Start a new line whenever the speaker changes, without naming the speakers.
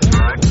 That's right.